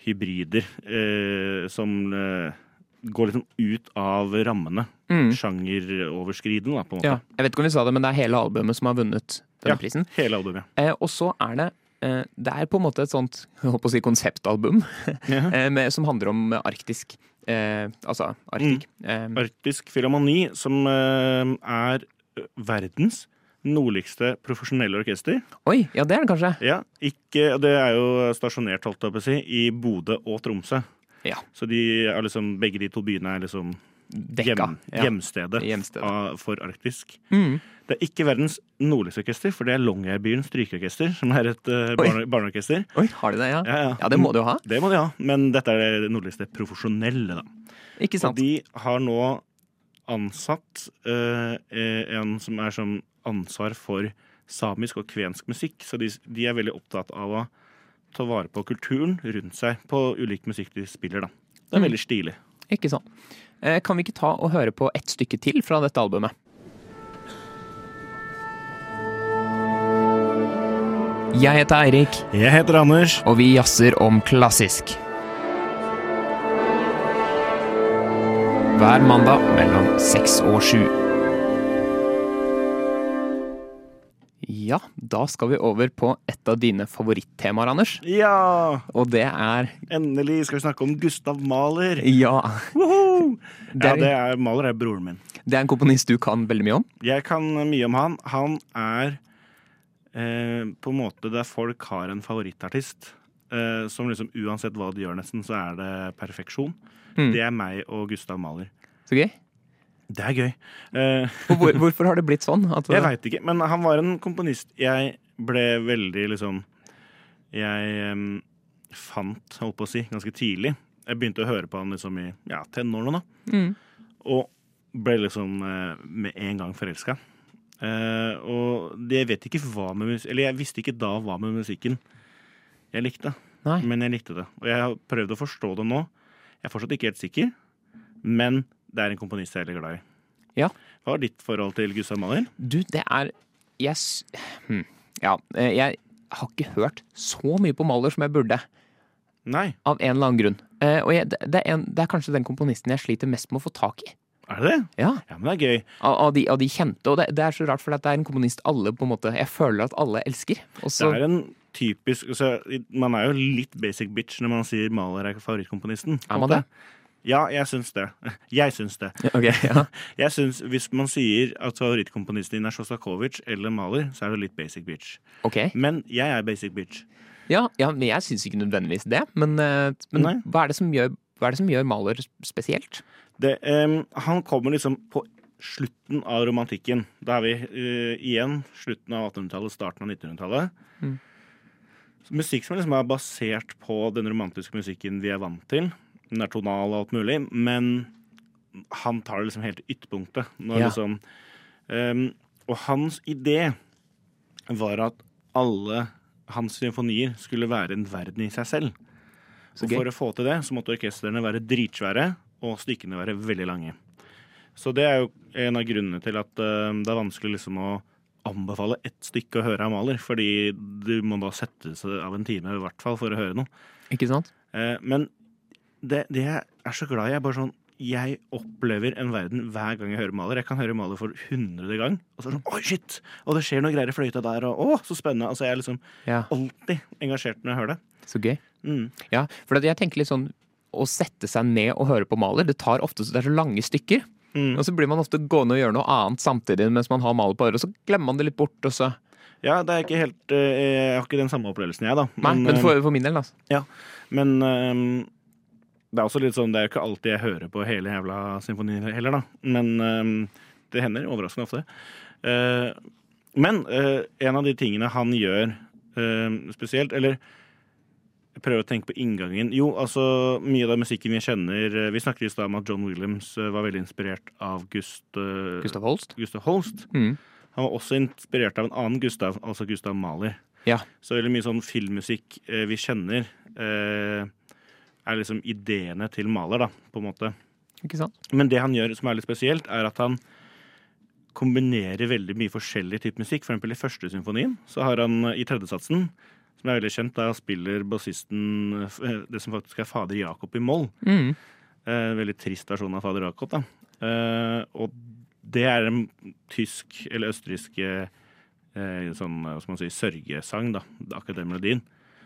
S2: hybrider eh, som eh, går liksom ut av rammene.
S1: Mm.
S2: Sjangeroverskridende, da, på en måte.
S1: Ja, jeg vet ikke om vi sa det, men det er hele albumet som har vunnet denne
S2: Ja.
S1: prisen.
S2: Hele albumet.
S1: Eh, og så er det eh, Det er på en måte et sånt jeg holdt på å si konseptalbum
S2: Ja.
S1: eh, med, som handler om eh, arktisk. Eh, altså Arktik.
S2: Mm.
S1: Eh,
S2: Arktisk Filharmoni, som eh, er eh, verdens nordligste profesjonelle orkester.
S1: oi, ja det er det kanskje.
S2: Ja, ikke, og Det er jo stasjonert holdt jeg på å si, i Bodø og Tromsø.
S1: Ja.
S2: Så de er liksom, begge de to byene er liksom
S1: Dekka.
S2: hjem,
S1: Ja.
S2: hjemstedet,
S1: Hjemstedet.
S2: Av, for arktisk.
S1: Mm.
S2: Det er ikke verdens nordligste orkester, for det er Longyearbyens strykeorkester, som er et eh,
S1: Oi.
S2: barne, barneorkester.
S1: Oi, har de det? Ja.
S2: Ja, ja.
S1: ja, det må de jo ha.
S2: Det må de ha, men dette er det nordligste profesjonelle, da.
S1: Ikke
S2: Og
S1: sant?
S2: de har nå ansatt eh, eh, en som er som ansvar for samisk og kvensk musikk, så de, de er veldig opptatt av å ta vare på kulturen rundt seg på ulik musikk de spiller. da. Det er
S1: Mm.
S2: veldig stilig.
S1: Ikke sant. Eh, Kan vi ikke ta og høre på et stykke til fra dette albumet? Jeg heter Eirik,
S2: Jeg heter Anders.
S1: og vi jazzer om klassisk. Hver mandag mellom seks og sju. Ja, da skal vi over på et av dine favorittemaer, Anders.
S2: Ja!
S1: Og det er
S2: Endelig skal vi snakke om Gustav Mahler.
S1: Ja,
S2: Woohoo!
S1: det
S2: Ja, det
S1: er,
S2: er, Mahler er broren min.
S1: det er en komponist du kan veldig mye om.
S2: Jeg kan mye om han. Han er eh, på en måte der folk har en favorittartist. Eh, som liksom uansett hva de gjør, nesten, så er det perfeksjon.
S1: Mm.
S2: Det er meg og Gustav Mahler.
S1: Så gøy.
S2: Det er gøy. Eh,
S1: Og Hvor, hvorfor har det blitt sånn? At,
S2: Jeg veit ikke, men han var en komponist. Jeg ble veldig liksom Jeg em, fant, holdt på å si, ganske tidlig. Jeg begynte å høre på han liksom i ja, tenårene, da.
S1: Mm.
S2: Og ble liksom eh, med en gang forelska. Eh, og det, jeg vet ikke hva med mus Eller jeg visste ikke da hva med musikken jeg likte.
S1: Nei.
S2: Men jeg likte det. Og jeg har prøvd å forstå det nå. Jeg er fortsatt ikke helt sikker, men det er en komponist jeg er veldig glad i.
S1: Ja.
S2: Hva er ditt forhold til Gustav Mahler?
S1: Du, det er Jeg s- hm, Ja, eh, jeg har ikke hørt så mye på Mahler som jeg burde,
S2: Nei.
S1: av en eller annen grunn. Eh, Og jeg, det, det er en, det er kanskje den komponisten jeg sliter mest med å få tak i.
S2: Er det det?
S1: Ja,
S2: Ja, men det er gøy.
S1: Av, av, de, av de kjente. Og det, det er så rart, for at det er en komponist alle på en måte Jeg føler at alle elsker. Og så,
S2: Det er en typisk altså, Man er jo litt basic bitch når man sier Mahler er favorittkomponisten.
S1: Er man det?
S2: Ja, jeg syns det. Jeg syns det.
S1: Ja, ok, ja.
S2: Jeg syns Hvis man sier at favorittkomponisten din er Sjostakovitsj eller Mahler, så er du litt basic bitch.
S1: Ok.
S2: Men jeg er basic bitch.
S1: Ja, ja, men jeg syns ikke nødvendigvis det. Men, eh,
S2: Nei.
S1: men hva, er det som gjør, hva er det som gjør Mahler spesielt?
S2: Det, em, han kommer liksom på slutten av romantikken. Da er vi eh, igjen slutten av 1800-tallet, starten av 1900-tallet.
S1: Mm.
S2: Så Musikk som liksom er basert på den romantiske musikken vi er vant til. Den er tonal og alt mulig, men han tar det liksom helt til ytterpunktet. Når
S1: Ja.
S2: liksom, em, og hans idé var at alle hans symfonier skulle være en verden i seg selv.
S1: Så
S2: Og
S1: gøy.
S2: for å få til det, så måtte orkestrene være dritsvære og stykkene være veldig lange. Så det er jo en av grunnene til at eh, det er vanskelig liksom å anbefale ett stykke å høre av Mahler, fordi du må da sette seg av en time i hvert fall for å høre noe.
S1: Ikke sant?
S2: Eh, Men det, det jeg er så glad i, er bare sånn jeg opplever en verden hver gang jeg hører Mahler. Jeg kan høre Mahler for hundrede gang, og så er det sånn Oi, shit! Og det skjer noe greier i fløyta der, og å, så spennende! Altså, jeg er liksom
S1: Ja,
S2: alltid engasjert når jeg hører det.
S1: Så gøy.
S2: Mm.
S1: Ja, for at jeg tenker litt sånn å sette seg ned og høre på Maler, det tar ofte det er så lange stykker.
S2: Mm.
S1: Og så blir man ofte gående og gjøre noe annet samtidig mens man har Maler på øret, og så glemmer man det litt bort. Og så.
S2: Ja, det er ikke helt eh, Jeg har ikke den samme opplevelsen, jeg, da.
S1: Nei, men,
S2: eh,
S1: for, for min del, altså.
S2: men, eh, det er også litt sånn Det er jo ikke alltid jeg hører på hele jævla symfonien heller, da. Men eh, det hender overraskende ofte. Eh, men eh, en av de tingene han gjør eh, spesielt, eller jeg prøver å tenke på inngangen Jo, altså, mye av den musikken vi kjenner eh, Vi snakket i stad om at John Williams eh, var veldig inspirert av Gust, eh,
S1: Gustav Holst.
S2: Gustav Holst.
S1: Mm.
S2: Han var også inspirert av en annen Gustav, altså Gustav Mahler.
S1: Ja.
S2: Så veldig mye sånn filmmusikk eh, vi kjenner, eh, er liksom ideene til Mahler, da, på en måte.
S1: Ikke sant?
S2: Men det han gjør som er litt spesielt, er at han kombinerer veldig mye forskjellig type musikk. For eksempel i første symfonien så har han eh, i tredjesatsen, som er veldig kjent, da spiller bassisten eh, f- eh, det som faktisk er fader Jakob i moll.
S1: Mm.
S2: Eh, veldig trist versjon av Fader Jakob. Da. Eh, og det er en tysk eller østerriksk eh, sånn, hva skal man si, sørgesang, da. Det er Akkurat den melodien.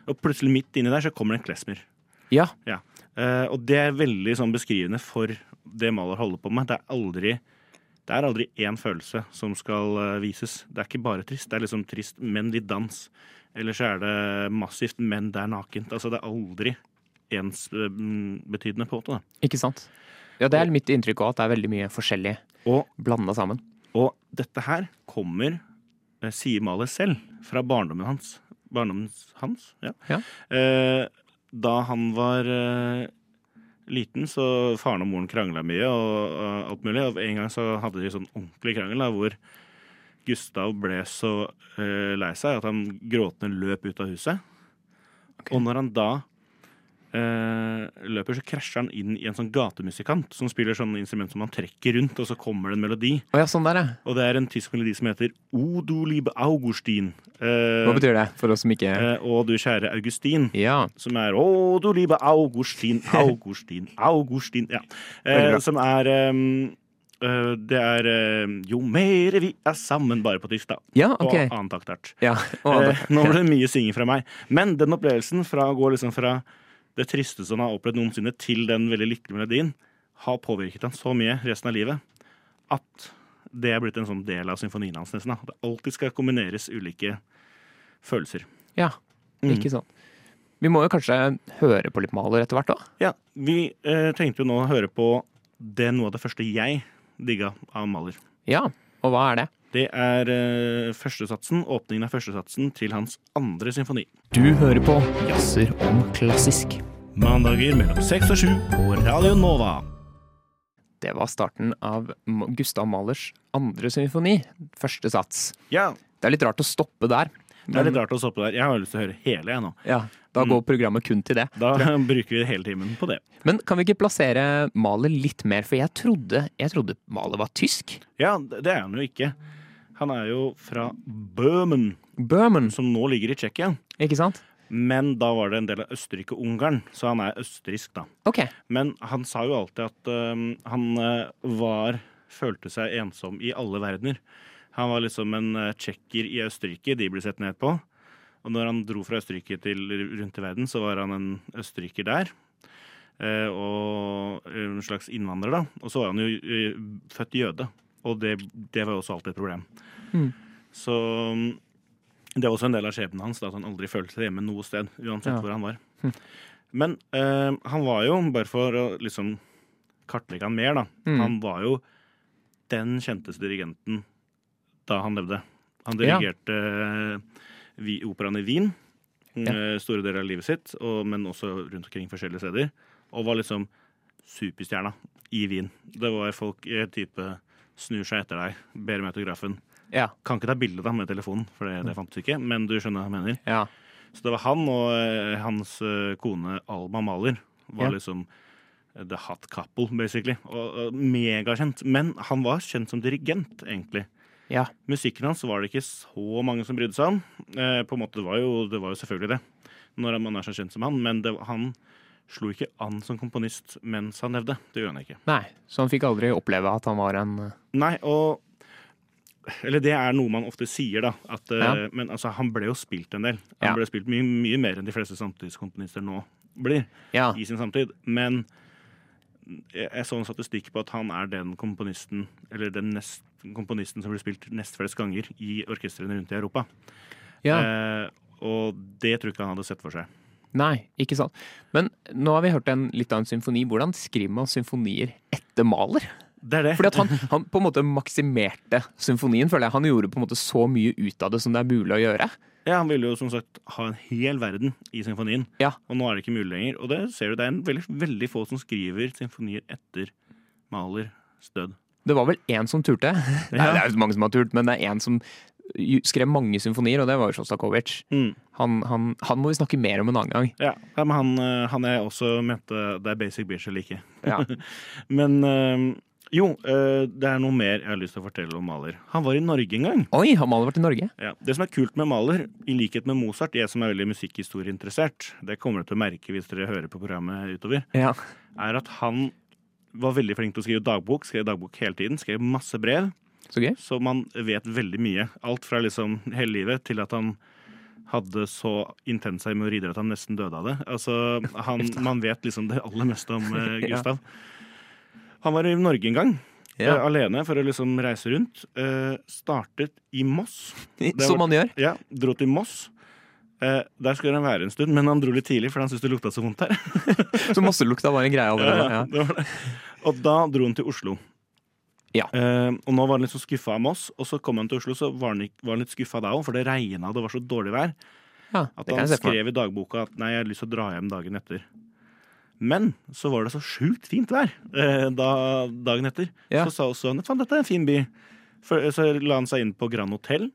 S2: Og plutselig midt inni der så kommer det en klesmer.
S1: Ja.
S2: Eh, og det er veldig sånn beskrivende for det Mahler holder på med. Det er aldri det er aldri én følelse som skal eh, vises. Det er ikke bare trist. Det er liksom trist, men litt dans. Eller så er det massivt, men det er nakent. Altså, det er aldri ensbetydende på en måte. Da.
S1: Ikke sant? Ja, det er mitt inntrykk òg, at det er veldig mye forskjellig
S2: Og,
S1: blanda sammen.
S2: og dette her kommer, eh, sier Mahler selv, fra barndommen hans. Barndommen hans, ja.
S1: Ja.
S2: Eh, da han var eh, liten, så faren og moren krangla mye og eh, alt mulig. Og en gang så hadde de sånn ordentlig krangel da, hvor Gustav ble så eh, lei seg at han gråtende løp ut av huset. Og når han da eh, løper, så krasjer han inn i en sånn gatemusikant som spiller sånne instrument som man trekker rundt, og så kommer det en melodi.
S1: Å ja, sånn der, ja.
S2: Og det er en tysk melodi som heter O du liebe Augustin. Eh,
S1: Hva betyr det, for oss som ikke
S2: eh, Å du kjære Augustin.
S1: Ja.
S2: Som er Å du liebe Augustin, Augustin, Augustin. Ja.
S1: Veldig
S2: Eh,
S1: bra.
S2: som er ehm, eh, Det er ehm, Jo mere vi er sammen, bare på tysk, da.
S1: Ja, ok.
S2: Og annen taktart.
S1: Ja. Og,
S2: Eh, nå ble det mye synging fra meg. Men den opplevelsen fra å gå liksom fra det tristeste han har opplevd noensinne, til den veldig lykkelige melodien, har påvirket han så mye resten av livet at det er blitt en sånn del av symfonien hans. nesten. Da. Det alltid skal kombineres ulike følelser.
S1: ja.
S2: Mm.
S1: Ikke sånn. Vi må jo kanskje høre på litt Mahler etter hvert òg?
S2: Ja, Vi eh, tenkte jo nå å høre på det noe av det første jeg digga av Mahler.
S1: Ja. Og hva er det?
S2: Det er eh, førstesatsen, åpningen av førstesatsen til hans andre symfoni.
S1: Du hører på Jazzer om klassisk.
S2: Mandager mellom seks og sju på Radio Nova.
S1: Det var starten av M- Gustav Mahlers andre symfoni, første sats.
S2: Ja,
S1: Det er litt rart å stoppe der.
S2: Det er litt rart å stoppe der. Jeg har lyst til å høre hele, jeg nå.
S1: Ja, Mm. da går programmet kun til det.
S2: Da bruker vi hele timen på det.
S1: Men kan vi ikke plassere Mahler litt mer, for jeg trodde, jeg trodde Mahler var tysk?
S2: Ja, det er han jo ikke. Han er jo fra Bøhmen,
S1: Berman,
S2: som nå ligger i Tsjekkia.
S1: ikke sant?
S2: Men da var det en del av Østerrike og Ungarn, så han er østerriksk, da.
S1: Ok,
S2: Men han sa jo alltid at øhm, han øh, var Følte seg ensom i alle verdener. Han var liksom en øh, tsjekker i Østerrike, de ble sett ned på. Og når han dro fra Østerrike til rundt i verden, så var han en østerriker der. eh, Og eh, en slags innvandrer, da. Og så var han jo eh, født jøde. Og det, det var jo også alltid et problem.
S1: Mm.
S2: Så mm, det er også en del av skjebnen hans, da, at han aldri følte seg hjemme noe sted. uansett
S1: Ja. Hm.
S2: hvor han var. Men eh, han var jo, bare for å liksom kartlegge han mer, da
S1: Mm.
S2: Han var jo den kjenteste dirigenten da han levde. Han
S1: Ja.
S2: dirigerte eh, vi, operaen i Wien
S1: Ja.
S2: eh, store deler av livet sitt, og, men også rundt omkring forskjellige steder. Og var liksom superstjerna i Wien. Det var folk i type snur seg etter deg, ber om autografen.
S1: ja,
S2: Kan ikke ta bilde da med telefonen, for det, det fantes ikke, men du skjønner hva jeg mener.
S1: ja.
S2: Så det var han og eh, hans eh, kone Alma Maler var
S1: Ja.
S2: liksom the hot couple, basically. Og, og megakjent. Men han var kjent som dirigent, egentlig.
S1: ja.
S2: Musikken hans var det ikke så mange som brydde seg om. Eh, på en måte, det var jo, det var jo selvfølgelig det, når man er så kjent som han. Men det, han slo ikke an som komponist mens han levde. Det gjorde han ikke.
S1: Nei, så han fikk aldri oppleve at han var en
S2: Nei, og Eller det er noe man ofte sier, da. At, eh,
S1: Ja.
S2: Men altså, han ble jo spilt en del. Han
S1: Ja.
S2: ble spilt mye, mye mer enn de fleste samtidskomponister nå blir.
S1: Ja,
S2: i sin samtid. Men jeg jeg så en statistikk på at han er den komponisten eller den nest, komponisten som blir spilt nest flest ganger i orkestrene rundt i Europa.
S1: ja.
S2: Eh, og det tror jeg ikke han hadde sett for seg.
S1: Nei, ikke sant. Men nå har vi hørt en, litt av en symfoni. Hvordan skriver man symfonier etter Mahler?
S2: Det er det.
S1: Fordi at han, han på en måte maksimerte symfonien, føler jeg. Han gjorde på en måte så mye ut av det som det er mulig å gjøre.
S2: ja, han ville jo som sagt ha en hel verden i symfonien,
S1: Ja.
S2: og nå er det ikke mulig lenger. Og det ser du, det er en veldig, veldig få som skriver symfonier etter Mahlers død.
S1: Det var vel én som turte. Nei,
S2: Ja.
S1: det er jo mange som har turt, men det er én som ju- skrev mange symfonier, og det var jo Sjostakovitsj.
S2: Mm.
S1: Han, han, han må vi snakke mer om en annen gang.
S2: Ja, ja, men han, eh, han jeg også mente det er basic bitch eller ikke.
S1: Ja.
S2: Men eh, jo, eh, det er noe mer jeg har lyst til å fortelle om Mahler. Han var i Norge en gang.
S1: Oi, har Mahler vært i Norge?
S2: Ja. Det som er kult med Mahler, i likhet med Mozart, jeg som er veldig musikkhistorieinteressert, det kommer dere til å merke hvis dere hører på programmet utover,
S1: Ja.
S2: er at han var veldig flink til å skrive dagbok, skrev dagbok hele tiden, skrev masse brev,
S1: Så gøy.
S2: så man vet veldig mye. Alt fra liksom hele livet til at han hadde så intense hemoroider at han nesten døde av det. Altså, han, man vet liksom det aller meste om eh,
S1: Ja.
S2: Gustav. Han var i Norge en gang,
S1: Ja.
S2: eh, alene for å liksom reise rundt. Eh, startet i Moss. var-
S1: Som man gjør.
S2: Ja, dro til Moss. Eh, der skulle han være en stund, men han dro litt tidlig, for han syntes det lukta så vondt her.
S1: Så masselukta var en greie allerede. Ja,
S2: det var det. Og da dro han til Oslo.
S1: Ja.
S2: Eh, og nå var han litt så skuffa av Moss, og så kom han til Oslo, så var han, ikk- var han litt skuffa da òg, for det regna og det var så dårlig vær.
S1: ja.
S2: At
S1: det kan
S2: han
S1: jeg se for meg.
S2: skrev i dagboka at nei, jeg har lyst til å dra hjem dagen etter. Men så var det så sjukt fint vær eh, da, dagen etter.
S1: Ja.
S2: Så sa også han faen, dette er en fin by. For, så la han seg inn på Grand Hotell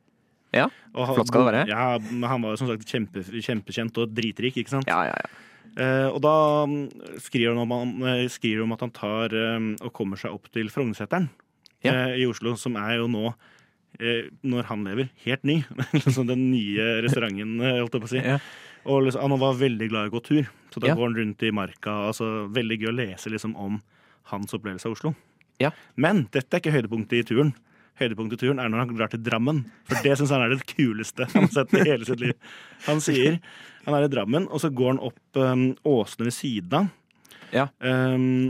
S1: Ja,
S2: Og han-
S1: flott skal det være.
S2: Ja, men han var jo som sagt kjempe, kjempekjent og dritrik, ikke sant.
S1: ja, ja. ja.
S2: Eh, og da mm, skriver han om, han, eh, skriver om at han tar eh, og kommer seg opp til Frognerseteren
S1: Ja.
S2: eh, i Oslo, som er jo nå eh, når han lever, helt ny. liksom den nye restauranten, eh, holdt jeg på å si.
S1: Ja.
S2: Og liksom, han var veldig glad i å gå tur, så da
S1: Ja.
S2: går han rundt i marka. altså Veldig gøy å lese liksom om hans opplevelse av Oslo.
S1: Ja.
S2: Men dette er ikke høydepunktet i turen. Høydepunktet i turen er når han drar til Drammen, for det syns han er det kuleste han har sett i hele sitt liv. Han sier han er i Drammen, og så går han opp um, åsene ved siden av.
S1: Ja.
S2: Um,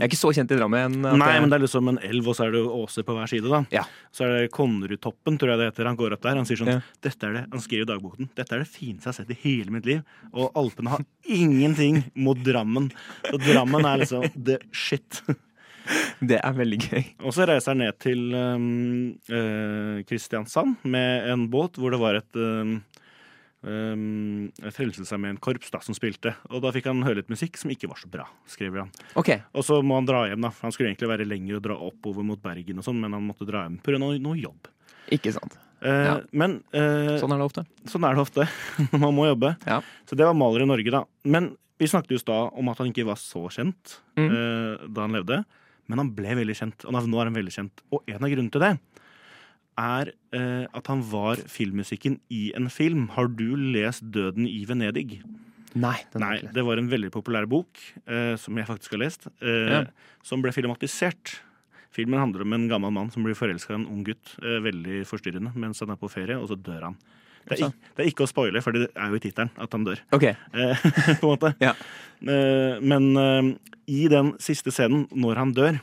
S1: Jeg er ikke så kjent i Drammen. at
S2: Nei,
S1: jeg-
S2: men det er liksom en elv, og så er det jo åser på hver side. da.
S1: Ja.
S2: Så er det Konnerudtoppen, tror jeg det heter. Han går opp der. Han sier sånn
S1: Ja.
S2: dette er det, han skriver i dagboken dette er det fineste jeg har sett i hele mitt liv. Og Alpene har ingenting mot Drammen. Så Drammen er liksom the shit.
S1: det er veldig gøy.
S2: Og så reiser han ned til øhm, øh, Kristiansand med en båt hvor det var et um, um, Frelsesarmeen-korps da, som spilte. Og da fikk han høre litt musikk som ikke var så bra, skriver han.
S1: Ok,
S2: Og så må han dra hjem, da. for Han skulle egentlig være lenger og dra oppover mot Bergen, og sånn, men han måtte dra hjem pga. noe, noe jobb.
S1: ikke sant.
S2: Eh,
S1: Ja.
S2: Men eh, sånn.
S1: Sånn er det ofte.
S2: er det ofte når man må jobbe.
S1: Ja.
S2: Så det var maler i Norge, da. Men vi snakket jo i stad om at han ikke var så kjent
S1: Mm.
S2: eh, da han levde. Men han ble veldig kjent, og nå er han veldig kjent. Og en av grunnene til det er eh, at han var filmmusikken i en film. Har du lest 'Døden i Venedig'?
S1: Nei, den er
S2: Nei,
S1: ikke det.
S2: det var en veldig populær bok eh, som jeg faktisk har lest, eh,
S1: Ja.
S2: som ble filmatisert. Filmen handler om en gammel mann som blir forelska i en ung gutt. Eh, veldig forstyrrende mens han er på ferie, og så dør han. Det er,
S1: Jaså.
S2: ikke, det er ikke å spoile, for det er jo i tittelen at han dør.
S1: Ok,
S2: Eh, på en måte.
S1: Ja.
S2: Eh, men eh, i den siste scenen, når han dør,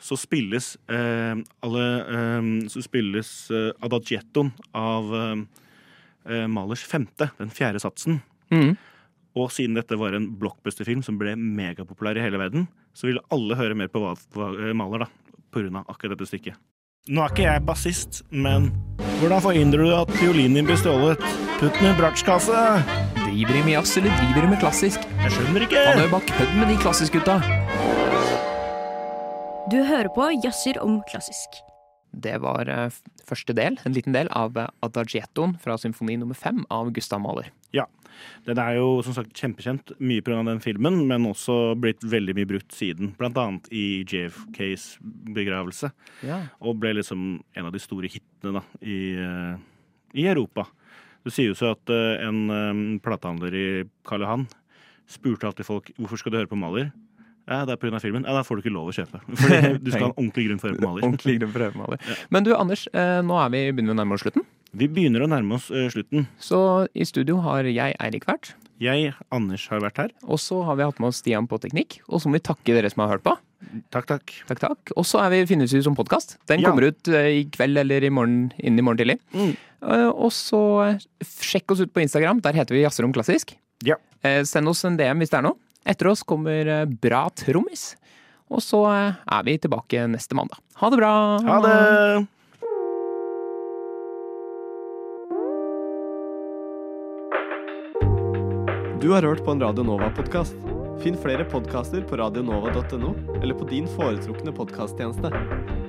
S2: så spilles eh, alle eh, Så spilles eh, Adagiettoen av eh, eh, Malers femte, den fjerde satsen.
S1: Mhm.
S2: Og siden dette var en blockbuster-film som ble megapopulær i hele verden, så ville alle høre mer på hva, hva eh, Maler, da, på grunn av akkurat dette stykket. Nå er ikke jeg bassist, men hvordan forhindrer du at fiolinen din blir stjålet? Putt den i bratsjkasse!
S1: Driver de med jazz, eller driver de med klassisk?
S2: Jeg skjønner ikke!
S1: Han er jo bare kødd med de klassisk-gutta.
S4: Du hører på Jazzer om klassisk.
S1: Det var eh, f- første del, en liten del, av eh, Adagiettoen fra symfoni nummer fem av Gustav Mahler.
S2: Ja. Den er jo som sagt kjempekjent, mye pga. den filmen, men også blitt veldig mye brukt siden. Blant annet i JFKs begravelse.
S1: Ja.
S2: Og ble liksom en av de store hitene da, i, eh, i Europa. Det sies jo at eh, en eh, platehandler i Karl Johan spurte alltid folk hvorfor skal du høre på Maler. Ja, det er pga. filmen. Ja, da får du ikke lov å kjøpe. For du skal ha en ordentlig grunn for å høre på Maler.
S1: Ordentlig grunn for å høre på Mahler. Men du, Anders, eh, nå er vi, begynner vi å nærme oss slutten.
S2: Vi begynner å nærme oss eh, slutten.
S1: Så i studio har jeg Eirik vært,
S2: Jeg, Anders, har vært her.
S1: og så har vi hatt med oss Stian på teknikk. Og så må vi takke dere som har hørt på.
S2: Takk, takk.
S1: Takk, takk. Og så er vi finnes vi som podkast. Den
S2: Ja.
S1: kommer ut eh, i kveld eller i morgen, innen i morgen tidlig.
S2: Mm.
S1: Eh, og så eh, sjekk oss ut på Instagram. Der heter vi Jazzerom klassisk.
S2: Ja.
S1: Eh, send oss en DM hvis det er noe. Etter oss kommer eh, Bra trommis. Og så eh, er vi tilbake neste mandag. Ha det bra!
S2: Ha det!
S5: Du har hørt på en Radio Nova-podkast. Finn flere podkaster på radionova.no eller på din foretrukne podkasttjeneste.